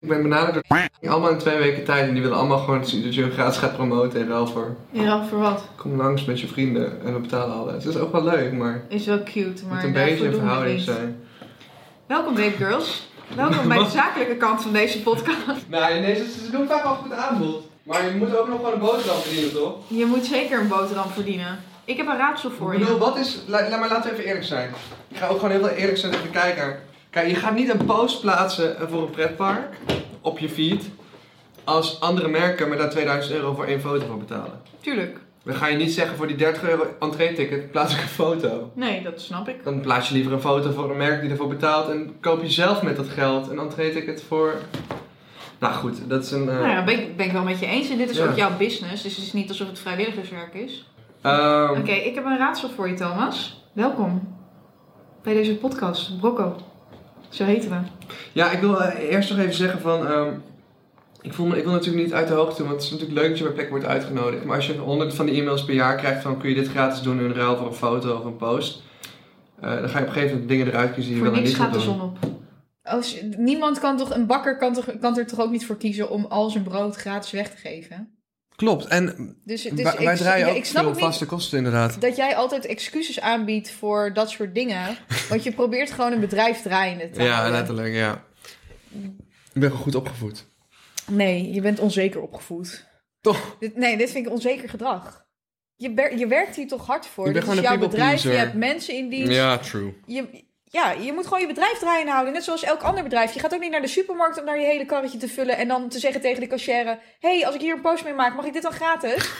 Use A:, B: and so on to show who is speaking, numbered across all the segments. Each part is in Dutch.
A: Ik ben benaderd door allemaal in twee weken tijd en die willen allemaal gewoon dat je hun gratis gaat promoten in ruil voor
B: In ruil voor wat?
A: kom langs met je vrienden en we betalen alles. Dat is ook wel leuk, maar
B: Is wel cute,
A: het moet
B: maar
A: een
B: daarvoor
A: beetje in
B: doen we
A: verhouding
B: niet.
A: zijn.
B: Welkom Babe Girls. Welkom bij de zakelijke kant van deze podcast.
A: Nou, nee, ze, ze doen vaak al goed aanbod. Maar je moet ook nog gewoon een boterham verdienen, toch?
B: Je moet zeker een boterham verdienen. Ik heb een raadsel voor
A: ik bedoel,
B: je.
A: wat is... la- la- maar laten we even eerlijk zijn. Ik ga ook gewoon heel veel eerlijk zijn tegen de kijker. Kijk, je gaat niet een post plaatsen eh, voor een pretpark op je feed... als andere merken me daar 2000 euro voor één foto van betalen.
B: Tuurlijk.
A: Dan ga je niet zeggen voor die 30 euro entree-ticket plaats ik een foto.
B: Nee, dat snap ik.
A: Dan plaats je liever een foto voor een merk die ervoor betaalt... en koop je zelf met dat geld een entree-ticket voor... Nou goed, dat is een... eh,
B: Nou ja, ben ik, ben ik wel met je eens. En dit is
A: Ja.
B: ook jouw business, dus het is niet alsof het vrijwilligerswerk is.
A: ehm,
B: Oké, ik heb een raadsel voor je, Thomas. Welkom bij deze podcast, Brocco. Zo heten we.
A: Ja, ik wil eh, eerst nog even zeggen van... ehm, ik, voel me, ik wil natuurlijk niet uit de hoogte, want het is natuurlijk leuk dat je bij plek wordt uitgenodigd. Maar als je 100 van die e-mails per jaar krijgt van kun je dit gratis doen in ruil voor een foto of een post. eh, dan ga je op een gegeven moment dingen eruit kiezen die je
B: voor
A: wel en
B: niks
A: niet
B: gaat
A: gaat
B: de
A: doen.
B: zon op.
C: Als, je- Oh, niemand kan toch, een bakker kan, toch, kan er toch ook niet voor kiezen om al zijn brood gratis weg te geven?
A: Klopt, en
C: Dus, dus ik, ja, ik snap ook niet
A: kosten inderdaad.
C: dat jij altijd excuses aanbiedt voor dat soort dingen. Want je probeert gewoon een bedrijf draaiende te houden.
A: letterlijk, ja. Ik ben gewoon goed opgevoed.
C: Nee, je bent onzeker opgevoed.
A: Toch?
C: Dit, nee, dit vind ik onzeker gedrag. Je, ber- je werkt hier toch hard voor?
A: Je bent
C: Dit is
A: gewoon een
C: jouw
A: people
C: bedrijf, je
A: pleaser.
C: hebt mensen in dienst.
A: true.
C: Je, ja, je moet gewoon je bedrijf draaiende houden. Net zoals elk ander bedrijf. Je gaat ook niet naar de supermarkt om daar je hele karretje te vullen. En dan te zeggen tegen de cashier: hey, als ik hier een post mee maak, mag ik dit dan gratis?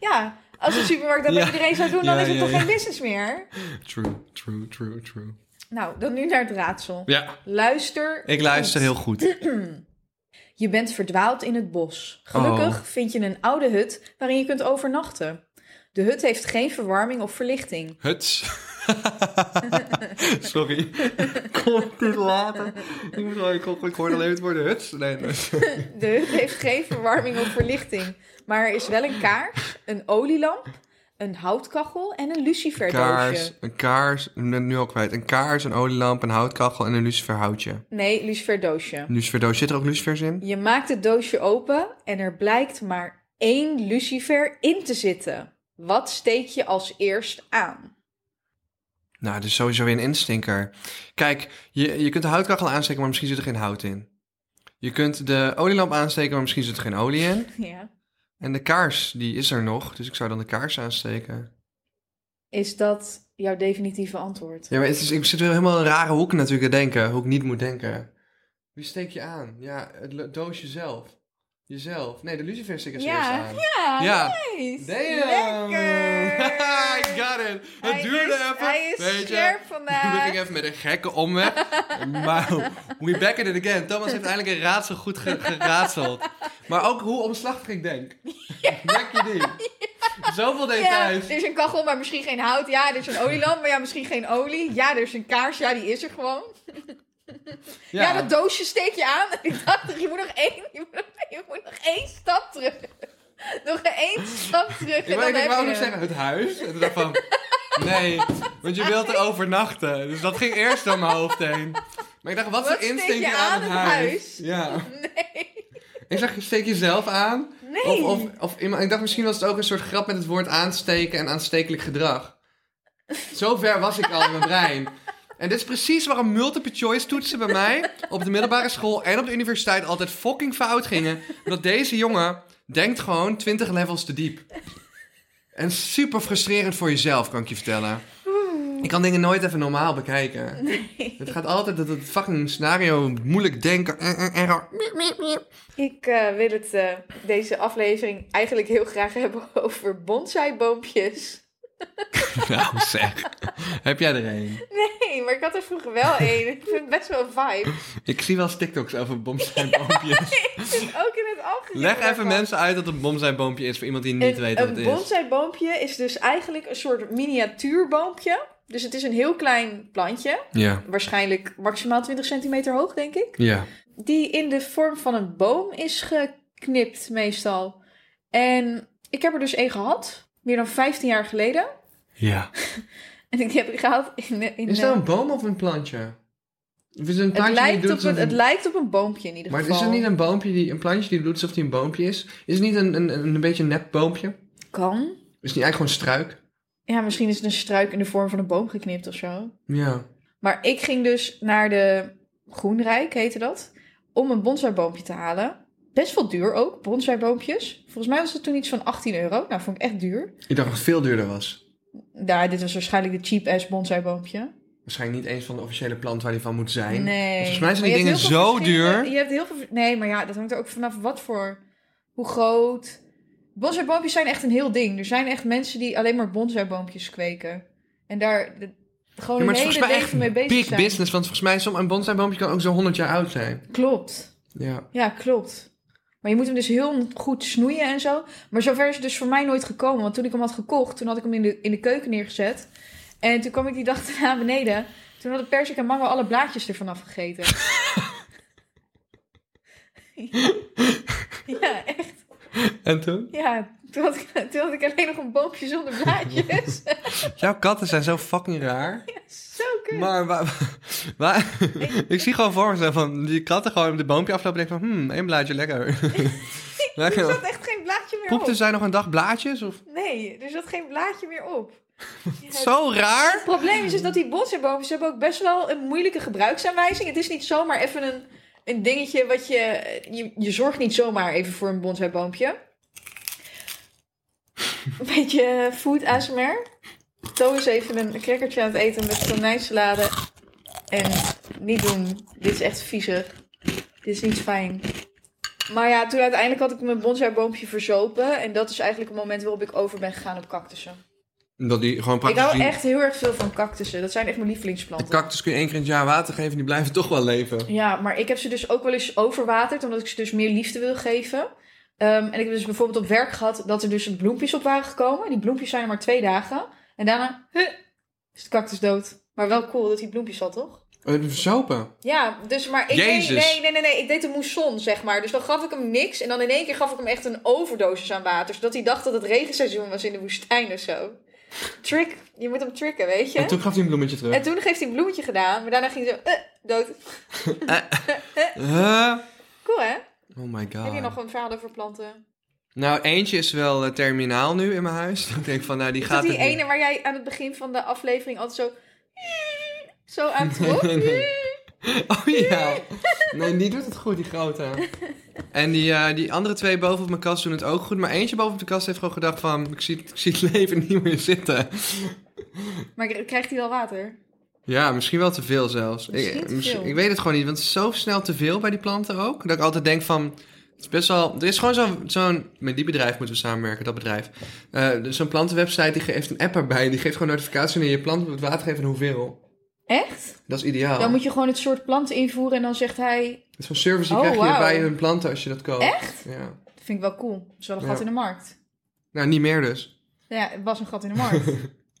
C: ja, als de supermarkt dat bij
A: Ja.
C: iedereen zou doen, dan
A: Ja,
C: is het
A: ja,
C: toch
A: ja.
C: geen business meer?
A: True, true, true, true.
C: Nou, dan nu naar het raadsel.
A: Ja,
C: Luister. goed.
A: goed.
C: Je bent verdwaald in het bos. Gelukkig
A: Oh.
C: vind je een oude hut waarin je kunt overnachten. De hut heeft geen verwarming of verlichting.
A: Huts. Sorry. Kon ik dit laten? Ik, moet wel, ik, kon- ik hoorde alleen het woord huts. Nee, nee.
C: De hut heeft geen verwarming of verlichting. Maar er is wel een kaars, een olielamp, een houtkachel en een luciferdoosje.
A: een kaars. Ik ben het nu al kwijt. Een kaars, een olielamp, een houtkachel en een luciferhoutje.
C: Nee, luciferdoosje.
A: Een luciferdoos. Zit er ook lucifers in?
C: Je maakt het doosje open en er blijkt maar één lucifer in te zitten. Wat steek je als eerst aan?
A: Nou, dat is sowieso weer een instinker. Kijk, je, je kunt de houtkachel aansteken, maar misschien zit er geen hout in. Je kunt de olielamp aansteken, maar misschien zit er geen olie in.
C: Ja.
A: En de kaars, die is er nog. Dus ik zou dan de kaars aansteken.
C: Is dat jouw definitieve antwoord?
A: Ja, maar het is, ik zit weer helemaal in een rare hoek natuurlijk te denken, hoe ik niet moet denken. Wie steek je aan? Ja, het lo- doosje zelf. Jezelf. Nee, de lucifer steek ik als
C: Ja,
A: eerste aan.
C: Ja,
A: Ja.
C: nice.
A: Damn!
C: Lekker!
A: I got it! Het
C: Hij
A: duurde
C: is-
A: even.
C: Hij is
A: weet je.
C: scherp
A: We
C: vandaag.
A: gingen even met een gekke omweg. maar we back in it again. Thomas heeft eindelijk een raadsel goed ge- geraadseld. Maar ook hoe omslachtig ik denk. Merk je die? Zoveel
C: Ja,
A: details.
C: er is een kachel, maar misschien geen hout. Ja, er is een olielamp, maar ja, misschien geen olie. Ja, er is een kaars, ja, die is er gewoon. Ja, dat doosje steek je aan. Ik dacht, je moet nog één, je moet, nog- je moet nog één stap terug. Nog één stap terug
A: Ik
C: en dan
A: wou, ik
C: heb
A: wou
C: je
A: nog
C: hem.
A: zeggen, het huis. En toen dacht ik van, nee, want je wilt er overnachten. Dus dat ging eerst door mijn hoofd heen. Maar ik dacht, wat is
C: Wat
A: de
C: steek
A: instinkt
C: je
A: aan,
C: aan
A: het
C: het
A: huis?
C: huis?
A: Ja.
C: Nee,
A: Ik zag, steek jezelf aan.
C: nee.
A: Of, of, of iemand, ik dacht, misschien was het ook een soort grap met het woord aansteken en aanstekelijk gedrag. Zo ver was ik al in mijn brein. En dit is precies waarom multiple choice toetsen bij mij op de middelbare school en op de universiteit altijd fucking fout gingen. Omdat deze jongen denkt gewoon 20 levels te diep. En super frustrerend voor jezelf, kan ik je vertellen. Ik kan dingen nooit even normaal bekijken. Het gaat altijd dat het fucking scenario moeilijk denken. eh, eh, error.
C: Ik eh, wil het, eh, deze aflevering eigenlijk heel graag hebben over bonsai-boompjes.
A: Nou zeg, heb jij er een?
C: Nee, maar ik had er vroeger wel één. Ik vind het best wel een vibe.
A: Ik zie wel eens TikToks over bomsijboompjes.
C: Ik zit ook in het algemeen.
A: Leg even
C: daarvan.
A: mensen uit dat een bomsijboompje is voor iemand die niet
C: een,
A: weet wat
C: een
A: het is.
C: bonsaiboompje is dus eigenlijk een soort miniatuurboompje. Dus het is een heel klein plantje,
A: Ja,
C: waarschijnlijk maximaal 20 centimeter hoog, denk ik.
A: ja.
C: Die in de vorm van een boom is geknipt meestal. En ik heb er dus één gehad, meer dan 15 jaar geleden.
A: ja.
C: En ik heb het gehaald in... eh, in
A: Is
C: eh,
A: dat een boom of een plantje? Of is het een
C: Het
A: plantje die
C: lijkt,
A: doet
C: op een,
A: alsof-
C: het lijkt op een boompje in ieder
A: Maar
C: geval.
A: is er niet een boompje die, een plantje die doet alsof die een boompje is? Is het niet een, een, een, een beetje een nep boompje?
C: Kan.
A: Is het niet eigenlijk gewoon een struik?
C: Ja, misschien is het een struik in de vorm van een boom geknipt of zo.
A: Ja.
C: Maar ik ging dus naar de Groenrijk, heette dat, om een bonsaiboompje te halen. Best wel duur ook, bonsaiboompjes. Volgens mij was dat toen iets van 18 euro. Nou, vond ik echt duur.
A: Ik dacht dat het veel duurder was.
C: Nou, dit was waarschijnlijk de cheap-ass bonsaiboompje.
A: Waarschijnlijk niet eens van de officiële plant waar die van moet zijn.
C: Nee.
A: Volgens mij zijn
C: Maar
A: die
C: je
A: dingen
C: hebt heel veel
A: zo
C: verschillende-
A: duur.
C: Je hebt heel veel... Nee, maar ja, dat hangt er ook vanaf wat voor... Hoe groot... Bonsaiboompjes zijn echt een heel ding. Er zijn echt mensen die alleen maar bonsaiboompjes kweken. En daar de- gewoon
A: Ja, maar
C: een
A: het is volgens
C: hele
A: mij echt
C: leven mee bezig
A: big
C: zijn.
A: business. Want volgens mij soms een bonsai-boompje kan ook zo 100 jaar oud zijn.
C: Klopt.
A: Ja.
C: Ja, klopt. Maar je moet hem dus heel goed snoeien en zo. Maar zover is het dus voor mij nooit gekomen. Want toen ik hem had gekocht, toen had ik hem in de, in de keuken neergezet. En toen kwam ik die dag daarna beneden. Toen hadden persik en mango alle blaadjes ervan afgegeten. ja. ja, echt.
A: En toen?
C: Ja, toen had, ik, toen had ik alleen nog een boompje zonder blaadjes.
A: Jouw katten zijn zo fucking raar.
C: zo kut.
A: Maar waar, waar- ik zie gewoon voor mezelf van die katten gewoon op de boompje aflopen en denken van, hmm, één blaadje lekker.
C: er
A: lekker.
C: zat echt geen blaadje meer op.
A: Poepte zij nog een dag blaadjes? Of?
C: Nee, er zat geen blaadje meer op. Ja,
A: Zo raar.
C: Het probleem is, is dat die bonsaibomen, ze hebben ook best wel een moeilijke gebruiksaanwijzing. Het is niet zomaar even een, een dingetje wat je, je... Je zorgt niet zomaar even voor een bonsaiboompje. Een beetje food ASMR. Toon is even een crackertje aan het eten met tonijnsalade. En niet doen. Dit is echt viezig. Dit is niet fijn. Maar ja, toen uiteindelijk had ik mijn bonsaiboompje verzopen. En dat is eigenlijk het moment waarop ik over ben gegaan op cactussen.
A: Dat die gewoon
C: Ik hou
A: praktisch...
C: echt heel erg veel van cactussen. Dat zijn echt mijn
A: De
C: lievelingsplanten.
A: cactus kun je één keer in het jaar water geven en die blijven toch wel leven.
C: ja, maar ik heb ze dus ook wel eens overwaterd, omdat ik ze dus meer liefde wil geven. Ehm, en ik heb dus bijvoorbeeld op werk gehad dat er dus bloempjes op waren gekomen. Die bloempjes zijn er maar twee dagen. En daarna huh, is de cactus dood. Maar wel cool dat die bloempjes had, toch?
A: Oh, je hebt hem verzopen.
C: Ja, dus maar ik
A: Jezus.
C: Nee, nee, nee, nee, nee. Ik deed een moesson, zeg maar. Dus dan gaf ik hem niks. En dan in één keer gaf ik hem echt een overdosis aan water. Zodat hij dacht dat het regenseizoen was in de woestijn of zo. Trick. Je moet hem tricken, weet je?
A: En toen gaf hij een bloemetje terug.
C: En toen heeft hij een bloemetje gedaan, maar daarna ging ze eh, dood.
A: Huh?
C: Cool hè?
A: Oh my god.
C: Heb je nog een verhaal over planten?
A: Nou, eentje is wel eh, terminaal nu in mijn huis. Dan denk ik van, nou, die
C: Is
A: gaat
C: dat die
A: het niet.
C: ene waar jij aan het begin van de aflevering altijd zo... Zo aan het trok?
A: Nee, nee. Oh ja. Nee, die doet het goed, die grote. En die, eh, die andere twee boven op mijn kast doen het ook goed. Maar eentje boven op de kast heeft gewoon gedacht van... Ik zie, ik zie het leven niet meer zitten.
C: Maar krijgt hij wel water?
A: Ja, misschien wel te veel zelfs.
C: Misschien
A: ik,
C: te
A: misschien-
C: veel.
A: ik weet het gewoon niet, want het is zo snel te veel bij die planten ook. Dat ik altijd denk van, het is best wel... Er is gewoon zo- zo'n... met die bedrijf moeten we samenwerken, dat bedrijf. Eh, dus zo'n plantenwebsite die ge- heeft een app erbij. Die geeft gewoon notificatie wanneer je plant moet water geven en hoeveel.
C: Echt?
A: Dat is ideaal.
C: Dan moet je gewoon het soort planten invoeren en dan zegt hij...
A: Dat is zo'n service die
C: Oh,
A: krijg je
C: wauw.
A: bij hun planten als je dat koopt.
C: Echt?
A: Ja.
C: Dat vind ik wel cool. Dat is wel een gat
A: Oh. Ja.
C: in de markt.
A: Nou, niet meer dus.
C: Ja, het was een gat in de markt.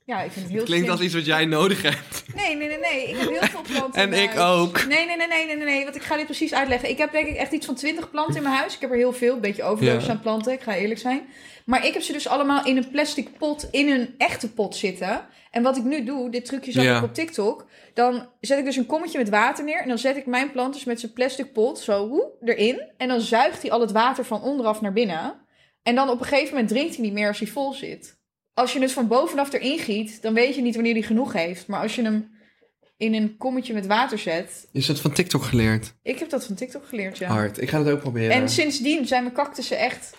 C: Ja, ik vind het heel
A: Klinkt
C: slim.
A: als iets wat jij nodig hebt.
C: Nee, nee, nee, nee. Ik heb heel veel planten in
A: En
C: mijn
A: ik
C: huis.
A: ook.
C: Nee, nee, nee, nee, nee, nee, nee, want ik ga dit precies uitleggen. Ik heb denk ik echt iets van 20 planten in mijn huis. Ik heb er heel veel, een beetje overdosis
A: Ja.
C: aan planten, ik ga eerlijk zijn. Maar ik heb ze dus allemaal in een plastic pot, in een echte pot zitten. En wat ik nu doe, dit trucje zag
A: Ja.
C: ik op TikTok. Dan zet ik dus een kommetje met water neer. En dan zet ik mijn plant dus met zijn plastic pot zo hoe, erin. En dan zuigt hij al het water van onderaf naar binnen. En dan op een gegeven moment drinkt hij niet meer als hij vol zit. Als je het van bovenaf erin giet, dan weet je niet wanneer hij genoeg heeft. Maar als je hem in een kommetje met water zet,
A: Je is dat van TikTok geleerd.
C: ik heb dat van TikTok geleerd, ja.
A: Hard. Ik ga dat ook proberen.
C: En sindsdien zijn mijn cactussen echt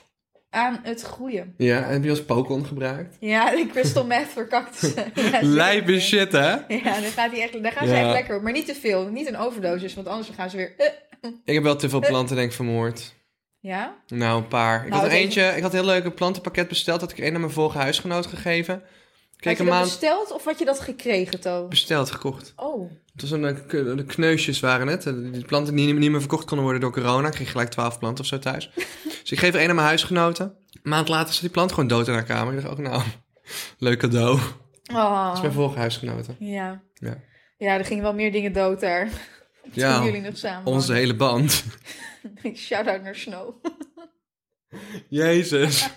C: aan het groeien.
A: Ja, en heb je als Pokémon gebruikt?
C: Ja, de crystal meth voor cactussen. Ja, zeker.
A: Lijpe shit, hè?
C: Ja, daar, gaat die echt, daar gaan ze
A: Ja.
C: echt lekker op. Maar niet te veel. Niet een overdosis, want anders gaan ze weer... eh.
A: Ik heb wel te veel planten, denk ik, vermoord.
C: Ja?
A: Nou, een paar. Ik
C: Nou,
A: had er
C: het
A: eentje, ik had een heel leuk een plantenpakket besteld. Had ik één aan mijn vorige huisgenoot gegeven.
C: Had
A: Kijk,
C: je
A: een
C: dat
A: maand
C: besteld of had je dat gekregen, To?
A: besteld, gekocht.
C: Oh,
A: Het was een, eh, k- de kneusjes waren het. Eh, Die planten die niet, niet meer verkocht konden worden door corona. Ik kreeg gelijk twaalf planten of zo thuis. dus ik geef er één aan mijn huisgenoten. Een maand later zat die plant gewoon dood in haar kamer. Ik dacht ook, nou, leuk cadeau. Dat
C: Oh.
A: is mijn vorige huisgenoten.
C: Ja.
A: Ja.
C: Ja, er gingen wel meer dingen dood daar. Toen
A: Ja,
C: jullie nog samen
A: onze hele band.
C: waren. Shout-out naar Snow.
A: Jezus.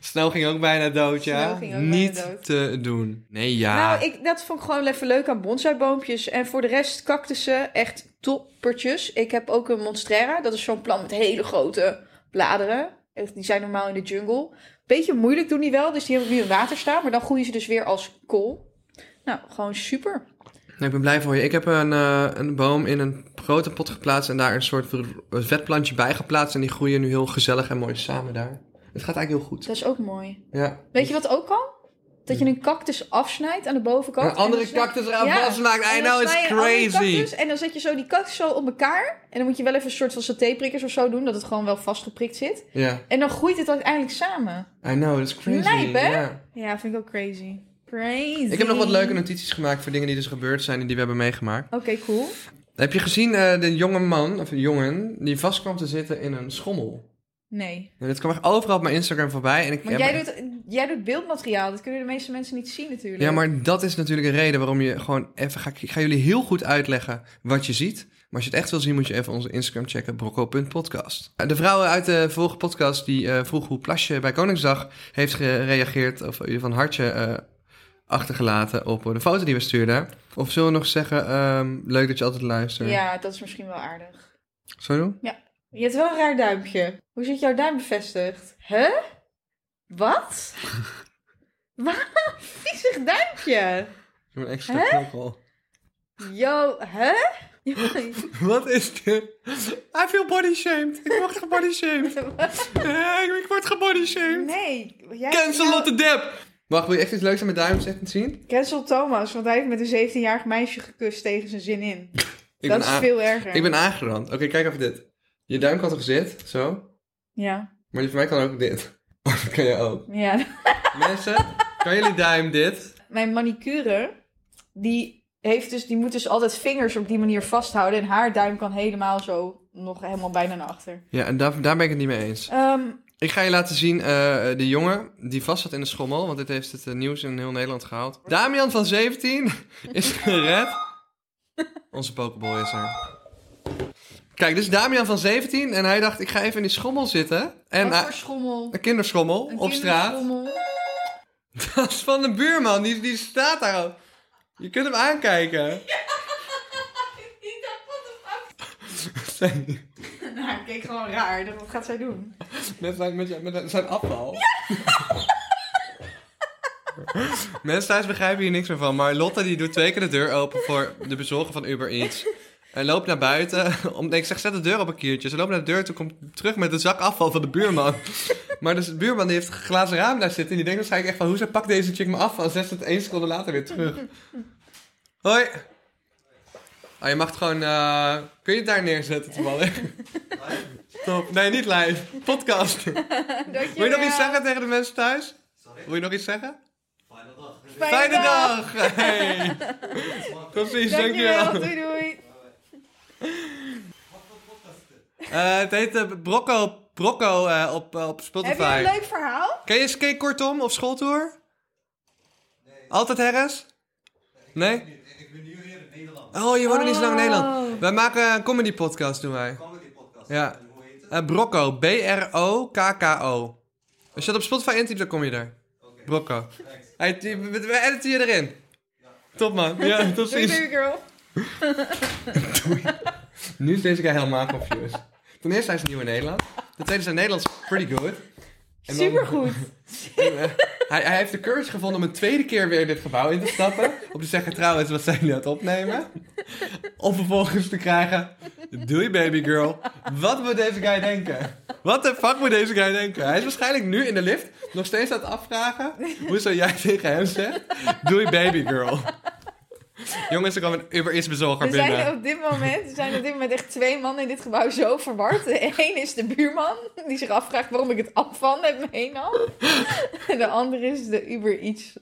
A: Snel ging ook bijna dood, ja.
C: Snel ging ook bijna
A: Niet
C: dood.
A: te doen. Nee, ja.
C: Nou, ik, dat vond ik gewoon even leuk aan bonsaiboompjes. En voor de rest cactussen, echt toppertjes. Ik heb ook een monstera. Dat is zo'n plant met hele grote bladeren. Echt, Die zijn normaal in de jungle. Beetje moeilijk doen die wel. Dus die hebben nu in water staan. Maar dan groeien ze dus weer als kool. Nou, gewoon super.
A: Nee, Nou, ik ben blij voor je. Ik heb een, eh, een boom in een grote pot geplaatst en daar een soort r- vetplantje bij geplaatst. En die groeien nu heel gezellig en mooi samen daar. Het gaat eigenlijk heel goed.
C: Dat is ook mooi.
A: Ja.
C: Weet je wat ook kan? Dat je een cactus afsnijdt aan de bovenkant.
A: Een andere
C: En dan-
A: cactus eraan
C: Ja.
A: vastmaakt. I
C: En dan
A: know,
C: snij
A: it's
C: je een andere
A: crazy.
C: cactus En dan zet je zo die cactus zo op elkaar. En dan moet je wel even een soort van satéprikkers of zo doen. Dat het gewoon wel vastgeprikt zit.
A: Ja,
C: En dan groeit het uiteindelijk samen.
A: I know, it's crazy.
C: Lijp, hè?
A: Ja.
C: Ja, vind ik ook crazy. Crazy.
A: Ik heb nog wat leuke notities gemaakt voor dingen die dus gebeurd zijn en die we hebben meegemaakt.
C: Oké, cool.
A: Heb je gezien eh de jonge man, of een jongen, die vast kwam te zitten in een schommel?
C: Nee.
A: Nou, dit kwam echt overal op mijn Instagram voorbij. En ik
C: Want
A: heb-
C: jij doet, jij doet beeldmateriaal. Dat kunnen de meeste mensen niet zien natuurlijk.
A: Ja, maar dat is natuurlijk een reden waarom je gewoon even... Ga, ik ga jullie heel goed uitleggen wat je ziet. Maar als je het echt wil zien, moet je even onze Instagram checken. brocco.podcast. Eh, De vrouw uit de vorige podcast die eh, vroeg hoe Plasje bij Koningsdag heeft gereageerd... of in ieder geval een hartje eh, achtergelaten op de foto die we stuurden. Of zullen we nog zeggen, ehm, leuk dat je altijd luistert.
C: Ja, dat is misschien wel aardig.
A: Zullen we doen?
C: Je hebt wel een raar duimpje. Hoe zit jouw duim bevestigd? Huh? Wat? Wat? Viezig duimpje.
A: Ik heb een extra knokkel.
C: Yo, huh?
A: Wat is dit? I feel body shamed. Ik word gebody shamed. ik word gebody shamed.
C: Nee. Jij
A: Cancel
C: Nou,
A: Lotte Depp! Wacht, wil je echt iets leuks aan mijn duim zeggen zien?
C: Cancel Thomas, want hij heeft met een 17-jarig meisje gekust tegen zijn zin in.
A: Ik
C: dat
A: ben
C: is
A: aan-
C: veel erger.
A: Ik ben aangerand. Oké, kijk even dit. Je duim kan toch zit, zo?
C: Ja,
A: Maar die van mij kan ook dit. Oh, dat kan jij ook.
C: ja.
A: Mensen, kan jullie duim dit?
C: Mijn manicure, die, heeft dus, die moet dus altijd vingers op die manier vasthouden. En haar duim kan helemaal zo nog helemaal bijna naar achter.
A: Ja, en daar, daar ben ik het niet mee eens.
C: Ehm,
A: Ik ga je laten zien eh, de jongen die vast zat in de schommel, want dit heeft het eh, nieuws in heel Nederland gehaald. Damian van 17 is gered. Onze pokeball is er. Kijk, dit is Damian van 17 en hij dacht, ik ga even in die schommel zitten. En
C: wat
A: hij-
C: voor schommel?
A: een kinderschommel
C: Een
A: op straat.
C: kinderschommel?
A: Dat is van de buurman, die, die staat daar ook. Je kunt hem aankijken.
C: Ik dacht, wat de fuck?
A: Zijn-
C: Nou, ik keek gewoon raar. Ik dacht, Wat gaat zij doen?
A: Met zijn, met, zijn- met zijn afval. Mensen thuis begrijpen hier niks meer van, maar Lotte die doet twee keer de deur open voor de bezorger van Uber Eats. En loopt naar buiten. Om, nee, ik zeg, zet de deur op een keertje. Ze loopt naar de deur, toen komt terug met de zak afval van de buurman. Maar dus de buurman die heeft een glazen raam daar zitten. En die denkt waarschijnlijk echt van, hoe pakt deze chick me afval? En zet het één seconde later weer terug. Hoi. Oh, je mag het gewoon... eh, kun je het daar neerzetten, toevallig? Top. Nee, niet live. Podcast. Wil je nog iets zeggen tegen de mensen thuis? Wil je nog iets zeggen?
C: Fijne,
A: Fijne
C: dag.
A: dag! Hey. Precies,
C: Dankjewel.
A: dankjewel.
C: Doei, doei.
A: Eh het heet eh, Brocco, Brocco eh, op, eh, op
C: Heb je een
A: Spotify.
C: leuk verhaal?
A: Ken je Skate Kortom of Schooltour? Altijd Harris? Nee?
D: Ik ben nu weer in Nederland.
A: Oh, je woont nog niet zo lang in
C: Oh.
A: Nederland. Wij maken een comedy podcast, doen wij.
D: Comedy podcast.
A: Ja.
D: En Hoe heet het?
A: Eh, Brocco, B-R-O-K-K-O. Als je dat op Spotify intypt, dan kom je daar.
D: Oké.
A: Brocco.
D: Thanks.
A: Hey, die- we we editen je erin. Top man. Ja, tot
C: Doei,
A: ziens.
C: doei, girl.
A: Nu is deze guy helemaal confused. Ten eerste, hij is nieuw in Nederland. Ten tweede, zijn Nederlands pretty good. En dan-
C: Supergoed.
A: En, eh, hij, hij heeft de courage gevonden om een tweede keer weer in dit gebouw in te stappen. Om te zeggen, trouwens, wat zijn jullie aan het opnemen? Om vervolgens te krijgen, doei baby girl. Wat moet deze guy denken? Wat de fuck moet deze guy denken? Hij is waarschijnlijk nu in de lift nog steeds aan het afvragen. Hoe zou jij tegen hem zeggen? Doei baby girl. Jongens, er kwam een Uber Eats bezorger
C: We
A: binnen.
C: zijn, op dit moment, er zijn op dit moment echt twee mannen in dit gebouw zo verward. De een is de buurman, die zich afvraagt waarom ik het afval heb meenam. En de andere is de Uber Eats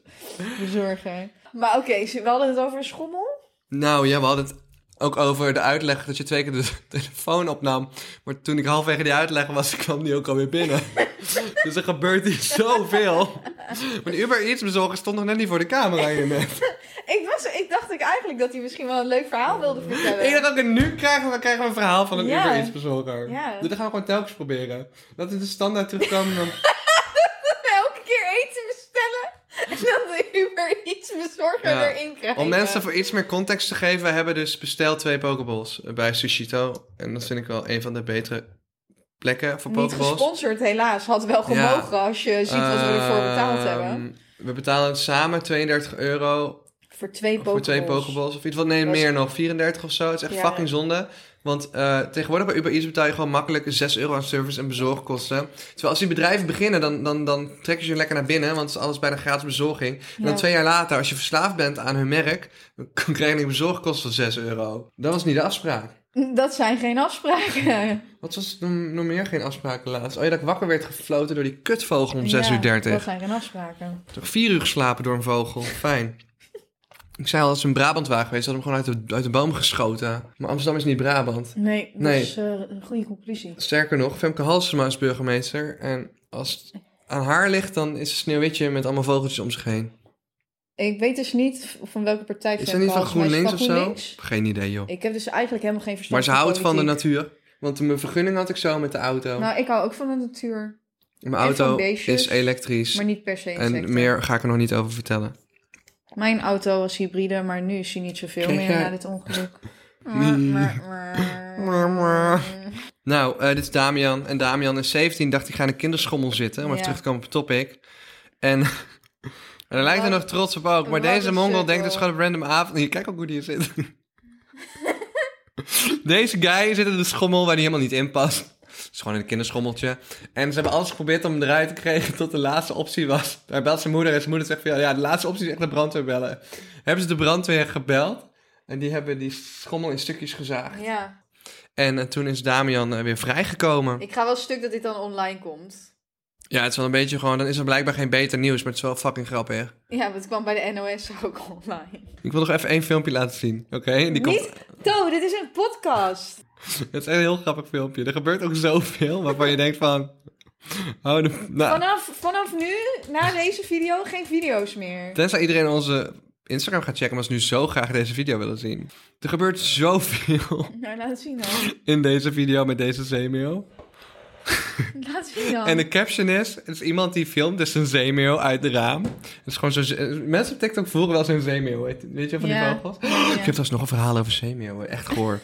C: bezorger. Maar oké, ze- we hadden het over een schommel.
A: Nou ja, we hadden het ook over de uitleg dat je twee keer de telefoon opnam. Maar toen ik halfwege die uitleg was, kwam die ook alweer binnen. dus er gebeurt hier zoveel. Maar de Uber Eats bezorger stond nog net niet voor de camera hier net.
C: Ik, was, ik dacht ik eigenlijk dat hij misschien wel een leuk verhaal wilde vertellen.
A: Ik dacht ook, en nu krijgen we, krijgen we een verhaal van een
C: Ja.
A: Uber Eats bezorger.
C: Ja.
A: Dus dat gaan we gewoon telkens proberen. Dat is de standaard terugkomen. van-
C: Elke er iets bezorgender
A: Ja.
C: erin krijgen.
A: Om mensen voor iets meer context te geven, we hebben dus besteld twee Pokeballs bij Sushito. En dat vind ik wel een van de betere plekken voor
C: Niet
A: Pokeballs.
C: gesponsord, helaas. Had wel
A: Ja.
C: gemogen als je ziet wat we ervoor betaald hebben.
A: Ehm, We betalen samen 32 euro
C: Voor twee
A: voor twee Pokeballs. Of iets wat, nee,
C: Dat is-
A: meer nog. 34 of zo. Het is echt
C: Ja.
A: fucking zonde. Want eh, tegenwoordig bij Uber Eats betaal je gewoon makkelijk 6 euro aan service en bezorgkosten. Terwijl als die bedrijven beginnen, dan, dan, dan trekken ze je lekker naar binnen. Want het is alles bijna gratis bezorging. En
C: Ja.
A: dan twee jaar later, als je verslaafd bent aan hun merk, dan krijg je een bezorgkost van 6 euro. Dat was niet de afspraak.
C: Dat zijn geen afspraken.
A: Wat was er nog meer geen afspraken laatst? Oh ja, dat ik wakker werd gefloten door die kutvogel om 6
C: Ja,
A: uur 30.
C: Dat zijn geen afspraken.
A: Toch vier uur geslapen door een vogel. Fijn. Ik zei al, als ze in Brabant waren geweest, hadden we hem gewoon uit de, uit de boom geschoten. Maar Amsterdam is niet Brabant.
C: Nee, dat
A: Nee.
C: is eh, een goede conclusie.
A: Sterker nog, Femke Halsema is burgemeester. En als het aan haar ligt, dan is het Sneeuwwitje met allemaal vogeltjes om zich heen.
C: Ik weet dus niet van welke partij
A: Is dat
C: Femke
A: niet van
C: Halsema is.
A: GroenLinks of zo?
C: GroenLinks?
A: Geen idee, joh.
C: Ik heb dus eigenlijk helemaal geen verstand
A: Maar ze houdt van de
C: politiek.
A: natuur. Want mijn vergunning had ik zo met de auto.
C: Nou, ik hou ook van de natuur,
A: mijn
C: en van
A: auto
C: beestjes,
A: is elektrisch.
C: maar niet per se
A: En
C: insecten.
A: meer ga ik er nog niet over vertellen.
C: Mijn auto was hybride, maar nu is hij niet zoveel
A: Kijk,
C: meer
A: jij-
C: na dit ongeluk.
A: Nee. Maar, maar. Nou, eh, dit is Damian. En Damian is 17, dacht ik ga in een kinderschommel zitten. Om even
C: Ja.
A: terug te komen op het topic. En, en hij lijkt er
C: Wat-
A: nog trots op ook. Maar
C: wat
A: deze
C: een
A: mongol
C: sukkel.
A: denkt dus gewoon op random avond. Hier, kijk ook hoe die hier zit. deze guy zit in de schommel waar hij helemaal niet in past. Het is gewoon een kinderschommeltje. En ze hebben alles geprobeerd om hem eruit te krijgen tot de laatste optie was. Hij belt zijn moeder en zijn moeder zegt van ja, ja, de laatste optie is echt de brandweer bellen. Hebben ze de brandweer gebeld en die hebben die schommel in stukjes gezaagd.
C: Ja,
A: En eh, toen is Damian eh, weer vrijgekomen.
C: ik ga wel stuk dat dit dan online komt.
A: Ja, het is wel een beetje gewoon, dan is er blijkbaar geen beter nieuws, maar het is wel fucking grappig.
C: Ja, want het kwam bij de NOS ook online.
A: Ik wil nog even één filmpje laten zien, oké? Die komt...
C: Niet, To, dit is een podcast.
A: Het is echt een heel grappig filmpje. Er gebeurt ook zoveel waarvan je denkt van... Hou de... Nou,
C: Vanaf, vanaf nu, na deze video, geen video's meer.
A: tenzij iedereen onze Instagram gaat checken, omdat ze nu zo graag deze video willen zien. Er gebeurt zoveel
C: Nou, laat het zien dan.
A: in deze video met deze zeemeel.
C: Laat het zien dan.
A: En de caption is, het is iemand die filmt, dus een zeemeel uit het raam. Het is gewoon zo... Mensen op TikTok voeren wel zo'n zeemeel, weet weet je, van die
C: Ja.
A: vogels.
C: Ja.
A: Ik heb trouwens nog een verhaal over zeemeel, echt hoor.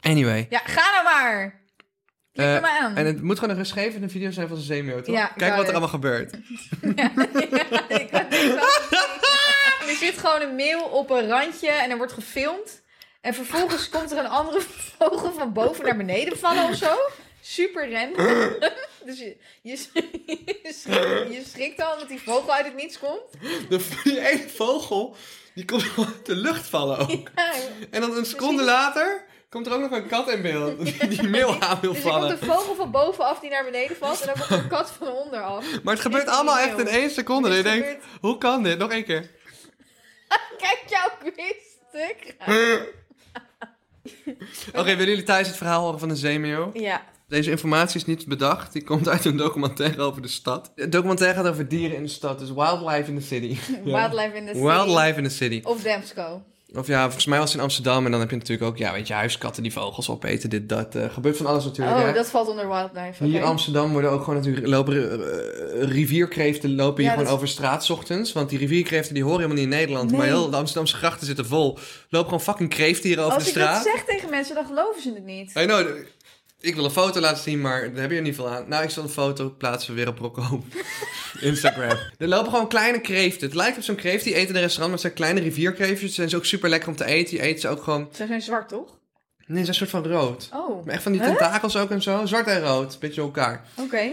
A: Anyway.
C: Ja, ga nou maar. Klik
A: Eh,
C: er maar aan.
A: En het moet gewoon een geschreven video zijn van zijn zeemeel, toch?
C: Ja,
A: Kijk
C: got
A: wat er
C: it.
A: allemaal gebeurt.
C: Ik had niks anders gezien. er zit gewoon een meeuw op een randje en er wordt gefilmd. En vervolgens komt er een andere vogel van boven naar beneden vallen of zo. Super random. Dus je, je, je, schrikt, je schrikt al dat die vogel uit het niets komt.
A: De, die ene vogel, die komt gewoon uit de lucht vallen ook.
C: Ja, Dus
A: En dan een seconde later komt er ook nog een kat in beeld. Die, die mail aan wil
C: dus er komt
A: vallen.
C: een vogel van bovenaf die naar beneden valt. En dan komt er een kat van onderaf.
A: Maar het gebeurt
C: Dit is
A: allemaal
C: die
A: echt in
C: mail.
A: één seconde. En
C: Dit
A: je denkt,
C: gebeurt-
A: hoe kan dit? Nog één keer.
C: Kijk jouw quiz stuk.
A: Oké, willen jullie thuis het verhaal horen van de zeemeel?
C: Ja.
A: Deze informatie is niet bedacht. Die komt uit een documentaire over de stad. Het documentaire gaat over dieren in de stad. Dus Wildlife in the City.
C: Wildlife in the City.
A: Wildlife in the City.
C: Of Damsco.
A: Of ja, volgens mij was het in Amsterdam. En dan heb je natuurlijk ook, ja, weet je, huiskatten die vogels opeten, dit, dat. eh, gebeurt van alles natuurlijk.
C: Oh,
A: hè.
C: dat valt onder Wildlife.
A: Hier
C: oké.
A: in Amsterdam worden ook gewoon natuurlijk lopen, eh, rivierkreeften lopen hier
C: Ja,
A: gewoon
C: dat-
A: over straat 's ochtends. Want die rivierkreeften die horen helemaal niet in Nederland.
C: Nee.
A: Maar heel de Amsterdamse grachten zitten vol. Lopen gewoon fucking kreeften hier over
C: Als
A: de
C: ik dat
A: straat.
C: zeg tegen mensen, dan geloven ze het niet.
A: I know, d- ik wil een foto laten zien, maar daar heb je er niet veel aan. Nou, ik zal een foto plaatsen weer op Rocco. Instagram. er lopen gewoon kleine kreeften. Het lijkt op zo'n kreeft, die eten in een restaurant, maar het zijn kleine rivierkreeftjes. Ze zijn ze ook super lekker om te eten. Die eten ze ook gewoon...
C: Ze zijn zwart, toch?
A: Nee, ze zijn een soort van rood.
C: Oh,
A: Maar
C: oké.
A: echt van die
C: Huh?
A: tentakels ook en zo. Zwart en rood, beetje door elkaar.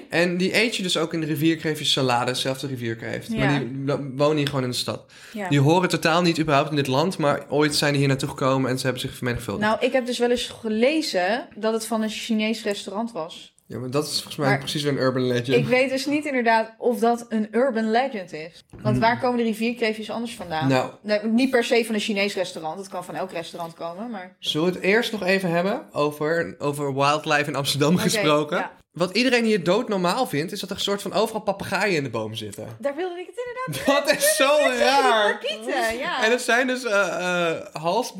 A: En die eet je dus ook in de rivierkreeftjes salade, zelfde rivierkreeft.
C: Ja.
A: Maar die lo- wonen hier gewoon in de stad.
C: Ja.
A: Die horen totaal niet überhaupt in dit land, maar ooit zijn die hier naartoe gekomen en ze hebben zich vermenigvuldigd.
C: Nou, ik heb dus wel eens gelezen dat het van een Chinees restaurant was.
A: Ja, maar dat is volgens mij
C: Maar-
A: precies weer een urban legend.
C: Ik weet dus niet inderdaad of dat een urban legend is. Want waar komen de rivierkreefjes anders vandaan?
A: Hmm. Nou,
C: Nee, niet per se van een Chinees restaurant. Het kan van elk restaurant komen, maar...
A: zullen we het eerst nog even hebben over, over wildlife in Amsterdam
C: Oké,
A: gesproken?
C: ja.
A: Wat iedereen hier doodnormaal vindt, is dat er soort van overal papegaaien in de boom zitten.
C: Daar wilde ik het inderdaad
A: Dat is zo raar.
C: kieten, ja.
A: En het zijn dus eh eh,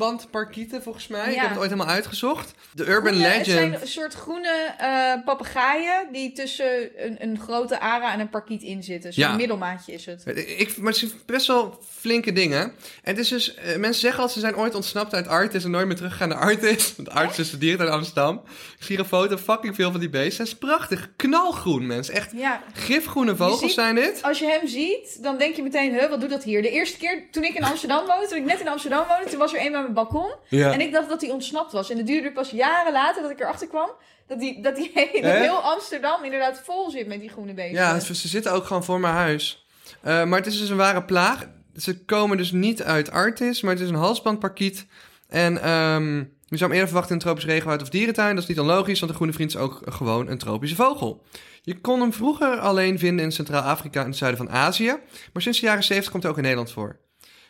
A: halsbandparkieten, volgens mij. Ik
C: Ja.
A: heb het ooit helemaal uitgezocht. De urban
C: Groene-
A: legend.
C: Het zijn een soort groene eh papegaaien die tussen een, een grote ara en een parkiet in zitten. Zo'n
A: Ja.
C: middelmaatje is het.
A: Ik, maar het zijn best wel flinke dingen. En het is dus, eh, mensen zeggen altijd ze zijn ooit ontsnapt uit Artis en nooit meer teruggegaan naar Artis. Want Artis is verdierend uit Amsterdam. Ik zie hier een foto, fucking veel van die beesten. Het is prachtig. Knalgroen, mensen. Echt
C: Ja.
A: gifgroene vogels
C: Je ziet-
A: zijn dit.
C: Als je hem ziet, dan denk je meteen, huh, wat doet dat hier? De eerste keer toen ik in Amsterdam woonde, toen ik net in Amsterdam woonde, toen was er een bij mijn balkon.
A: Ja.
C: En ik dacht dat hij ontsnapt was. En het duurde pas jaren later dat ik erachter kwam, dat, die, dat, die, dat
A: Hè?
C: heel Amsterdam inderdaad vol zit met die groene beesten.
A: Ja, het- ze zitten ook gewoon voor mijn huis. Eh, maar het is dus een ware plaag. Ze komen dus niet uit Artis, maar het is een halsbandparkiet. En ehm, je zou hem eerder verwachten in een tropisch regenwoud of dierentuin. Dat is niet onlogisch, want de groene vriend is ook gewoon een tropische vogel. Je kon hem vroeger alleen vinden in Centraal-Afrika en het zuiden van Azië. Maar sinds de jaren 70 komt hij ook in Nederland voor.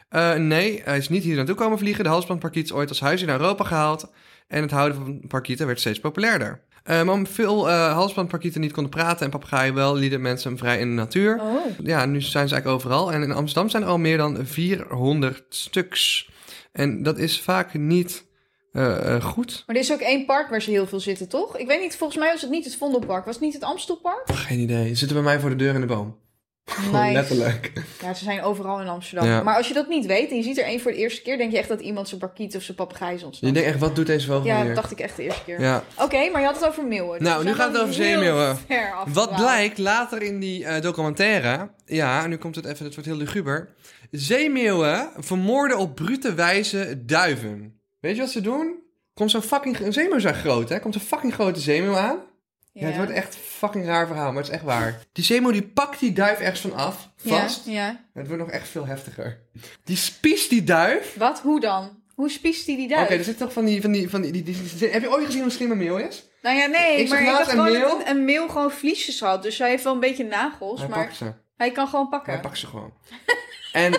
A: Eh, nee, hij is niet hier naartoe komen vliegen. De halsbandparkiet is ooit als huis in Europa gehaald. En het houden van parkieten werd steeds populairder. Eh, maar omdat veel eh halsbandparkieten niet konden praten en papegaaien wel, lieten mensen hem vrij in de natuur.
C: Oh.
A: Ja, nu zijn ze eigenlijk overal. En in Amsterdam zijn er al meer dan 400 stuks. En dat is vaak niet eh, eh, goed.
C: Maar er is ook één park waar ze heel veel zitten, toch? Ik weet niet, volgens mij was het niet het Vondelpark. Was het niet het Amstelpark?
A: Geen idee. Ze zitten bij mij voor de deur in de boom.
C: Nice.
A: Letterlijk.
C: Ja, ze zijn overal in Amsterdam.
A: Ja.
C: Maar als je dat niet weet en je ziet er één voor de eerste keer, denk je echt dat iemand zijn parkiet of zijn papegaai is
A: Je
C: ontsnapt.
A: denkt echt, wat doet deze vogel
C: Ja,
A: hier?
C: dat dacht ik echt de eerste keer.
A: Ja.
C: Oké, maar je had het over meeuwen. Dus
A: Nou,
C: we
A: nu
C: zijn
A: gaat het
C: wel
A: over
C: heel
A: zeemleeuwen.
C: ver
A: Wat
C: afgedwaald.
A: blijkt later in die eh, documentaire, ja, nu komt het even, het wordt heel luguber. Zeemeeuwen vermoorden op brute wijze duiven. Weet je wat ze doen? Komt zo'n fucking, een zeemeeuw is echt groot hè, komt een fucking grote zeemeeuw aan. Ja.
C: Ja.
A: het wordt echt fucking raar verhaal, maar het is echt waar. Die zeemeeuw die pakt die duif ergens van af, vast.
C: Ja, ja.
A: Het wordt nog echt veel heftiger. Die spiest die duif.
C: Wat? Hoe dan? Hoe spiest hij die
A: Oké, dus
C: duif?
A: er zit toch van die, van die, van die, die, die- die- heb je ooit gezien hoe slim een meeuw is?
C: Nou ja, nee,
A: Ik zag
C: maar ik
A: laatst
C: dacht
A: een
C: gewoon dat
A: mail.
C: een, een meel gewoon vliesjes had. Dus hij heeft wel een beetje nagels,
A: Hij
C: maar
A: pakt ze.
C: hij kan gewoon pakken.
A: Hij pakt ze gewoon. En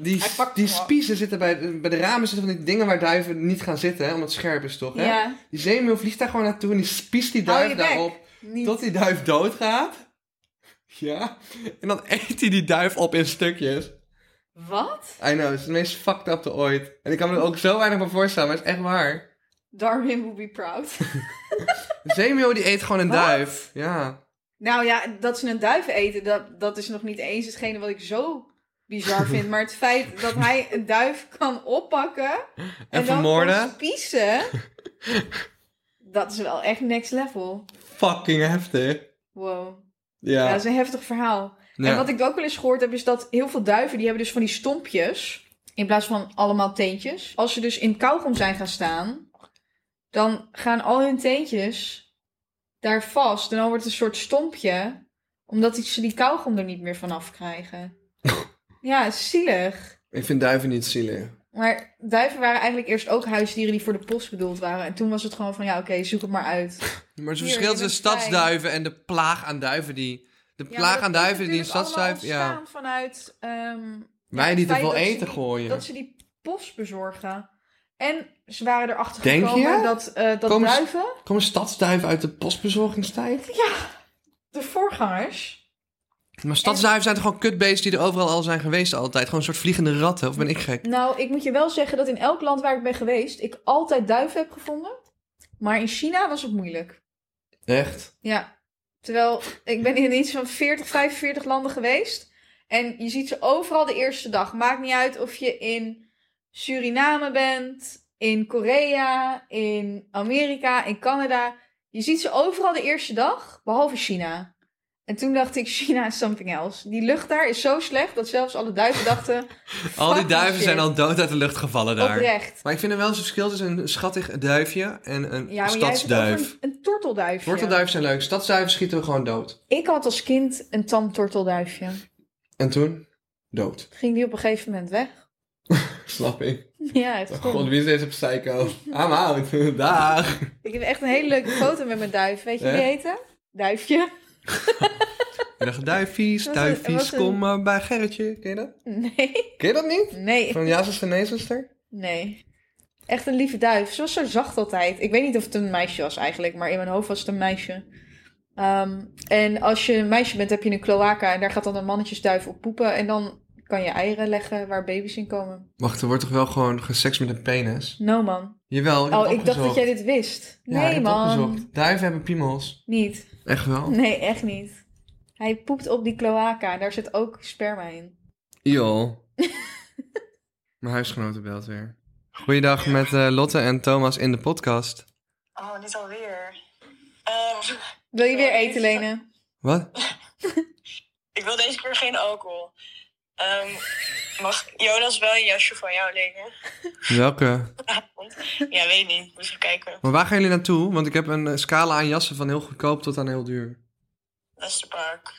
A: die,
C: Hij pakt
A: die
C: ze gewoon.
A: spiezen zitten bij, bij de ramen zitten van die dingen waar duiven niet gaan zitten, hè, omdat het scherp is toch? Hè?
C: ja,
A: Die zeemeeuw vliegt daar gewoon naartoe en die spiest die
C: Hou
A: duif
C: je bek.
A: daarop
C: niet.
A: tot die duif doodgaat. Ja. En dan eet hij die duif op in stukjes.
C: Wat?
A: I know, het is het meest fucked up te ooit. En ik kan me er ook zo weinig van voorstellen, maar het is echt waar.
C: Darwin would be proud.
A: Een zeemeeuw die eet gewoon een
C: Wat?
A: duif. Ja.
C: Nou ja, dat ze een duif eten, dat, dat is nog niet eens hetgene wat ik zo bizar vind. Maar het feit dat hij een duif kan oppakken en, dan
A: vermoorden.
C: kan spiezen, dat is wel echt next level.
A: Fucking heftig.
C: Wow. Ja,
A: Ja.
C: dat is een heftig verhaal.
A: Ja.
C: En wat ik ook wel eens gehoord heb, is dat heel veel duiven, die hebben dus van die stompjes. In plaats van allemaal teentjes. Als ze dus in kauwgom zijn gaan staan, dan gaan al hun teentjes daar vast. En dan wordt het een soort stompje, omdat die- ze die kauwgom er niet meer vanaf krijgen. ja, het is zielig.
A: Ik vind duiven niet zielig.
C: Maar duiven waren eigenlijk eerst ook huisdieren die voor de post bedoeld waren. En toen was het gewoon van, ja oké, zoek het maar uit.
A: Maar het
C: Hier,
A: verschil
C: je
A: tussen
C: bent
A: stadsduiven en de plaag aan duiven die. De
C: Ja,
A: plaag
C: maar
A: aan
C: dat is
A: duiven die een
C: natuurlijk allemaal
A: stadsduif. Ja.
C: ontstaan vanuit ehm,
A: Wij die te
C: feit
A: veel
C: dat ze
A: eten
C: die-
A: gooien.
C: dat ze die post bezorgen. En ze waren erachter
A: Denk
C: gekomen
A: je?
C: dat, eh, dat
A: Komen ze-
C: duiven,
A: Komen stadsduiven uit de postbezorgingstijd?
C: de voorgangers...
A: Maar stadsduiven zijn toch gewoon kutbeesten die er overal al zijn geweest altijd. Gewoon een soort vliegende ratten, of ben ik gek?
C: Nou, ik moet je wel zeggen dat in elk land waar ik ben geweest, ik altijd duiven heb gevonden. Maar in China was het moeilijk.
A: Echt?
C: Ja. Terwijl, ik ben in iets van 40, 45 landen geweest. En je ziet ze overal de eerste dag. Maakt niet uit of je in Suriname bent, in Korea, in Amerika, in Canada. Je ziet ze overal de eerste dag, behalve China. En toen dacht ik, China is something else. Die lucht daar is zo slecht dat zelfs alle duiven dachten...
A: Al die
C: fuck
A: duiven
C: shit.
A: zijn al dood uit de lucht gevallen daar.
C: Oprecht.
A: Maar ik vind er wel eens een verschil tussen een schattig duifje en een
C: Ja, maar jij hebt het over
A: stadsduif.
C: een, een tortelduifje.
A: Wortelduiven zijn leuk, stadsduiven schieten we gewoon dood.
C: Ik had als kind een tamtortelduifje.
A: En toen? Dood.
C: Ging die op een gegeven moment weg.
A: Snap ik.
C: Ja, het is goed.
A: wie is deze psycho? I'm out. Daag.
C: Ik heb echt een hele leuke foto met mijn duif. Weet je
A: Hè?
C: wie die heette? Duifje?
A: Dag duifies,
C: Dat was een-
A: duifies,
C: was een-
A: kom maar bij Gerritje. Ken je dat?
C: Nee.
A: Ken je dat niet?
C: Nee.
A: Van ja, zuster, nee, zuster?
C: Nee. Echt een lieve duif. Ze was zo zacht altijd. Ik weet niet of het een meisje was eigenlijk, maar in mijn hoofd was het een meisje. Ehm, en als je een meisje bent, heb je een cloaca. En daar gaat dan een mannetjesduif op poepen. En dan kan je eieren leggen waar baby's in komen.
A: Wacht, er wordt toch wel gewoon geseks met een penis?
C: No, man.
A: Jawel, ik heb
C: Oh,
A: het
C: ik dacht dat
A: opgezocht.
C: jij dit wist.
A: Ja, ik
C: nee,
A: heb het
C: man.
A: opgezocht. Duiven hebben piemels.
C: Niet.
A: Echt wel?
C: Nee, echt niet. Hij poept op die cloaca. En daar zit ook sperma in.
A: Jol. Mijn huisgenoten belt weer. Goeiedag met eh, Lotte en Thomas in de podcast.
D: Oh, niet alweer. Ehm,
C: Wil je weer
D: Ja,
C: eten,
D: dit is-
C: Lene?
A: Wat?
D: ik wil deze keer geen alcohol. Ehm, mag Jonas wel een jasje van jou lenen?
A: Welke?
D: Vanavond? Ja, weet niet. Moet even kijken.
A: Maar waar gaan jullie naartoe? Want ik heb een eh, scala aan jassen van heel goedkoop tot aan heel duur.
D: Westerpark.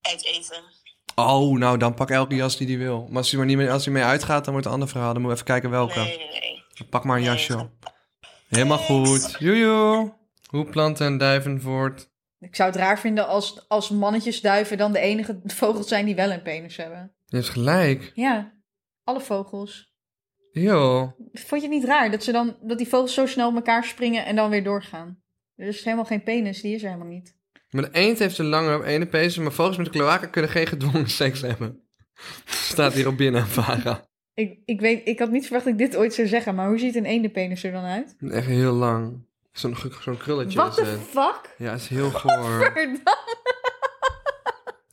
D: Uit eten.
A: Oh, nou dan pak elke jas die die wil. Maar als hij maar niet meer, als hij mee uitgaat, dan wordt het een ander verhaal. Dan moet we even kijken welke.
D: Nee, nee, nee.
A: Pak maar een
D: Nee,
A: jasje
D: dat-
A: op. Helemaal goed. Joejoe. Hoe planten en duiven voort?
C: Ik zou het raar vinden als, als mannetjesduiven dan de enige vogels zijn die wel een penis hebben.
A: Je hebt gelijk.
C: Ja, alle vogels.
A: Yo.
C: Vond je het niet raar dat, ze dan, dat die vogels zo snel op elkaar springen en dan weer doorgaan? Er is helemaal geen penis, die is er helemaal niet.
A: Maar de eend heeft een lange ene pees, maar vogels met een cloaca kunnen geen gedwongen seks hebben. Staat hier op binnen, Vara.
C: Ik, ik, weet, ik had niet verwacht dat ik dit ooit zou zeggen, maar hoe ziet een eendenpenis er dan uit?
A: Echt heel lang. Zo'n ge- zo'n krulletje
C: What
A: is
C: the
A: het.
C: fuck?
A: Ja, is heel goor.
C: Verdamme.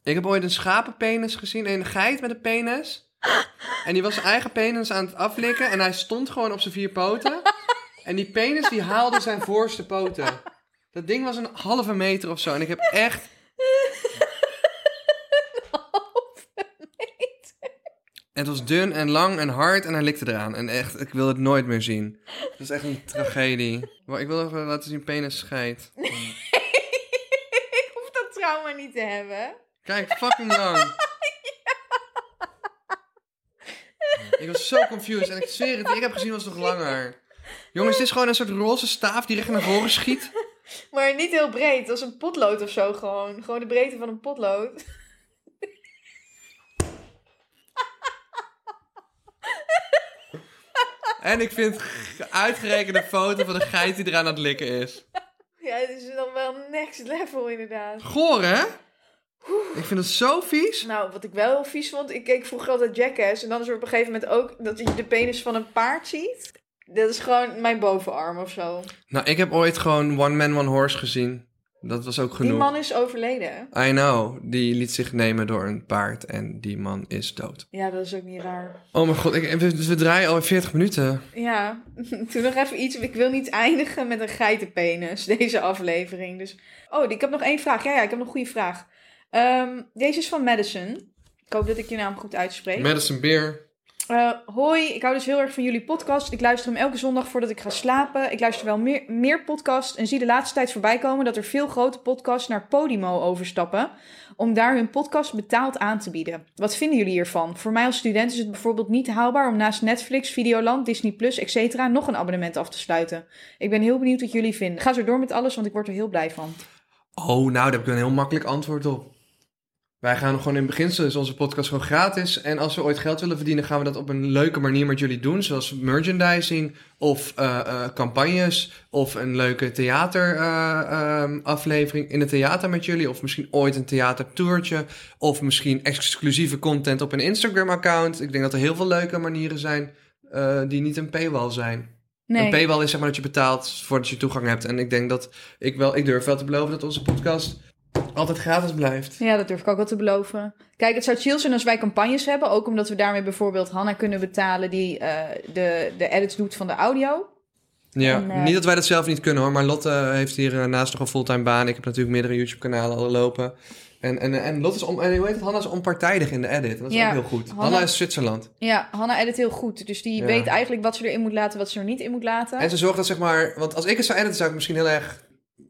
A: Ik heb ooit een schapenpenis gezien, een geit met een penis. En die was zijn eigen penis aan het aflikken en hij stond gewoon op zijn vier poten. En die penis die haalde zijn voorste poten. Dat ding was een halve meter of zo en ik heb echt... Het was dun en lang en hard en hij likte eraan. En echt, ik wil het nooit meer zien. Dat is echt een tragedie. Maar ik wil even laten zien penis scheidt.
C: ik hoef dat trauma niet te hebben.
A: Kijk, fucking lang. Ik was zo confused en ik zweer het, die ik heb gezien was nog langer. Jongens, dit is gewoon een soort roze staaf die recht naar voren schiet.
C: Maar niet heel breed, als een potlood of zo gewoon. Gewoon de breedte van een potlood.
A: En ik vind g- uitgerekende foto van de geit die eraan aan het likken is.
C: Ja, het is dan wel next level inderdaad.
A: Goor, hè? Ik vind het zo vies.
C: Nou, wat ik wel heel vies vond, ik keek vroeger altijd Jackass. En dan is er op een gegeven moment ook dat je de penis van een paard ziet. Dat is gewoon mijn bovenarm of zo.
A: Nou, ik heb ooit gewoon One Man, One Horse gezien. Dat was ook
C: Die
A: genoeg.
C: man is overleden. hè?
A: I know, die liet zich nemen door een paard en die man is dood.
C: Ja, dat is ook niet raar.
A: Oh mijn god, ik, we, we draaien alweer 40 minuten.
C: Ja, toen nog even iets. Ik wil niet eindigen met een geitenpenis, deze aflevering. Dus... Oh, ik heb nog één vraag. Ja, ja, ik heb nog een goede vraag. Ehm, deze is van Madison. Ik hoop dat ik je naam goed uitspreek.
A: Madison Beer.
C: Eh, hoi, ik hou dus heel erg van jullie podcast. Ik luister hem elke zondag voordat ik ga slapen. Ik luister wel meer, meer podcasts en zie de laatste tijd voorbij komen dat er veel grote podcasts naar Podimo overstappen. Om daar hun podcast betaald aan te bieden. Wat vinden jullie hiervan? Voor mij als student is het bijvoorbeeld niet haalbaar om naast Netflix, Videoland, Disney Plus, etc. nog een abonnement af te sluiten. Ik ben heel benieuwd wat jullie vinden. Ga zo door met alles, want ik word er heel blij van.
A: Oh, nou, daar heb ik een heel makkelijk antwoord op. Wij gaan gewoon in beginsel is onze podcast gewoon gratis. En als we ooit geld willen verdienen, gaan we dat op een leuke manier met jullie doen. Zoals merchandising of eh, eh, campagnes of een leuke theateraflevering in het theater met jullie. Of misschien ooit een theatertoertje. Of misschien exclusieve content op een Instagram-account. Ik denk dat er heel veel leuke manieren zijn eh, die niet een paywall zijn. Een paywall is zeg maar dat je betaalt voordat je toegang hebt. En ik denk dat ik wel, ik durf wel te beloven dat onze podcast altijd gratis blijft.
C: Ja, dat durf ik ook wel te beloven. Kijk, het zou chill zijn als wij campagnes hebben. Ook omdat we daarmee bijvoorbeeld Hanna kunnen betalen die eh, de, de edits doet van de audio.
A: Ja,
C: En, eh,
A: niet dat wij dat zelf niet kunnen hoor, maar Lotte heeft hier eh, naast nog een fulltime baan. Ik heb natuurlijk meerdere YouTube-kanalen al lopen. En, en, en Lotte is, on, en hoe heet het? Hanna is onpartijdig in de edit. En dat is
C: Ja,
A: ook heel goed.
C: Hanna-
A: Hanna is Zwitserland.
C: Ja, Hanna edit heel goed. Dus die
A: Ja.
C: weet eigenlijk wat ze erin moet laten, wat ze er niet in moet laten.
A: En ze zorgt dat zeg maar, want als ik het zou editen, zou ik misschien heel erg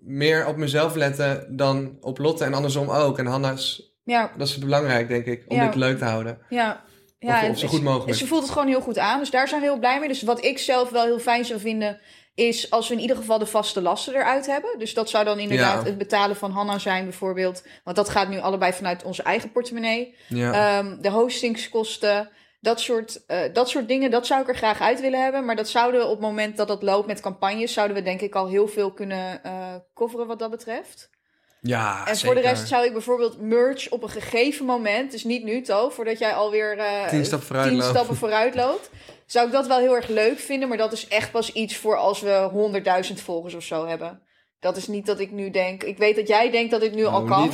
A: meer op mezelf letten dan op Lotte en andersom ook. En Hanna is,
C: Ja,
A: dat is belangrijk denk ik, om
C: Ja.
A: dit leuk te houden.
C: ja.
A: Of-
C: ja
A: of
C: en
A: zo goed mogelijk.
C: Ze voelt het gewoon heel goed aan. Dus daar zijn we heel blij mee. Dus wat ik zelf wel heel fijn zou vinden, is als we in ieder geval de vaste lasten eruit hebben. Dus dat zou dan inderdaad
A: Ja.
C: het betalen van Hanna zijn
A: Oh.
C: bijvoorbeeld. Want dat gaat nu allebei vanuit onze eigen portemonnee.
A: Ja.
C: Ehm, de hostingskosten, Dat soort, eh, dat soort dingen, dat zou ik er graag uit willen hebben. Maar dat zouden we op het moment dat dat loopt met campagnes, zouden we denk ik al heel veel kunnen eh coveren wat dat betreft.
A: Ja,
C: en voor de rest zou ik bijvoorbeeld merch op een gegeven moment, dus niet nu To, voordat jij alweer eh,
A: Tien stappen vooruit
C: tien
A: loopt.
C: stappen vooruit loopt, zou ik dat wel heel erg leuk vinden. Maar dat is echt pas iets voor als we 100.000 volgers of zo hebben. Dat is niet dat ik nu denk. Ik weet dat jij denkt dat dit nu al kan.
A: Nou, Niet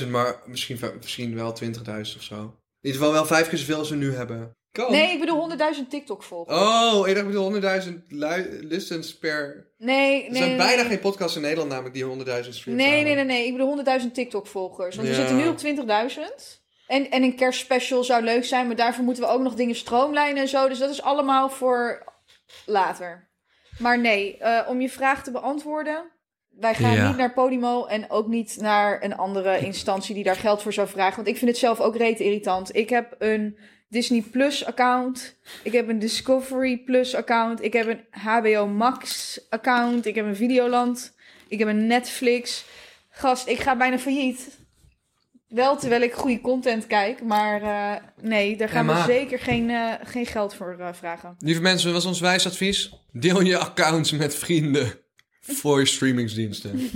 A: 100.000, maar misschien, va- misschien wel 20.000 of zo. In ieder geval wel vijf keer zoveel als we nu hebben. Kan.
C: Nee, ik bedoel 100.000 TikTok-volgers.
A: Oh, ik dacht ik bedoel 100.000 lu- listens per...
C: Nee, nee.
A: Er zijn
C: nee,
A: bijna
C: nee.
A: geen podcasts in Nederland namelijk die 100.000 streams
C: Nee, nee, nee, nee. Ik bedoel 100.000 TikTok-volgers. Want we
A: Ja.
C: zitten nu op 20.000. En, en een kerstspecial zou leuk zijn, maar daarvoor moeten we ook nog dingen stroomlijnen en zo. Dus dat is allemaal voor later. Maar nee, eh, om je vraag te beantwoorden. Wij gaan
A: Ja.
C: niet naar Podimo en ook niet naar een andere instantie die daar geld voor zou vragen. Want ik vind het zelf ook rete irritant. Ik heb een Disney Plus account. Ik heb een Discovery Plus account. Ik heb een HBO Max account. Ik heb een Videoland. Ik heb een Netflix. Gast, ik ga bijna failliet. Wel terwijl ik goede content kijk, maar eh, nee, daar gaan
A: maar-
C: we zeker geen, eh, geen geld voor eh, vragen.
A: Lieve mensen, dat was ons wijs advies. Deel je accounts met vrienden voor je streamingsdiensten.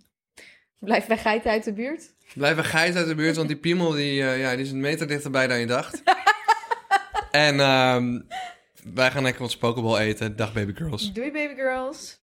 C: Blijf bij geiten uit de buurt.
A: Blijf een geit uit de buurt, want die piemel die, eh, ja, die is een meter dichterbij dan je dacht. en ehm, wij gaan lekker wat spookbal eten. Dag baby girls.
C: Doei baby girls.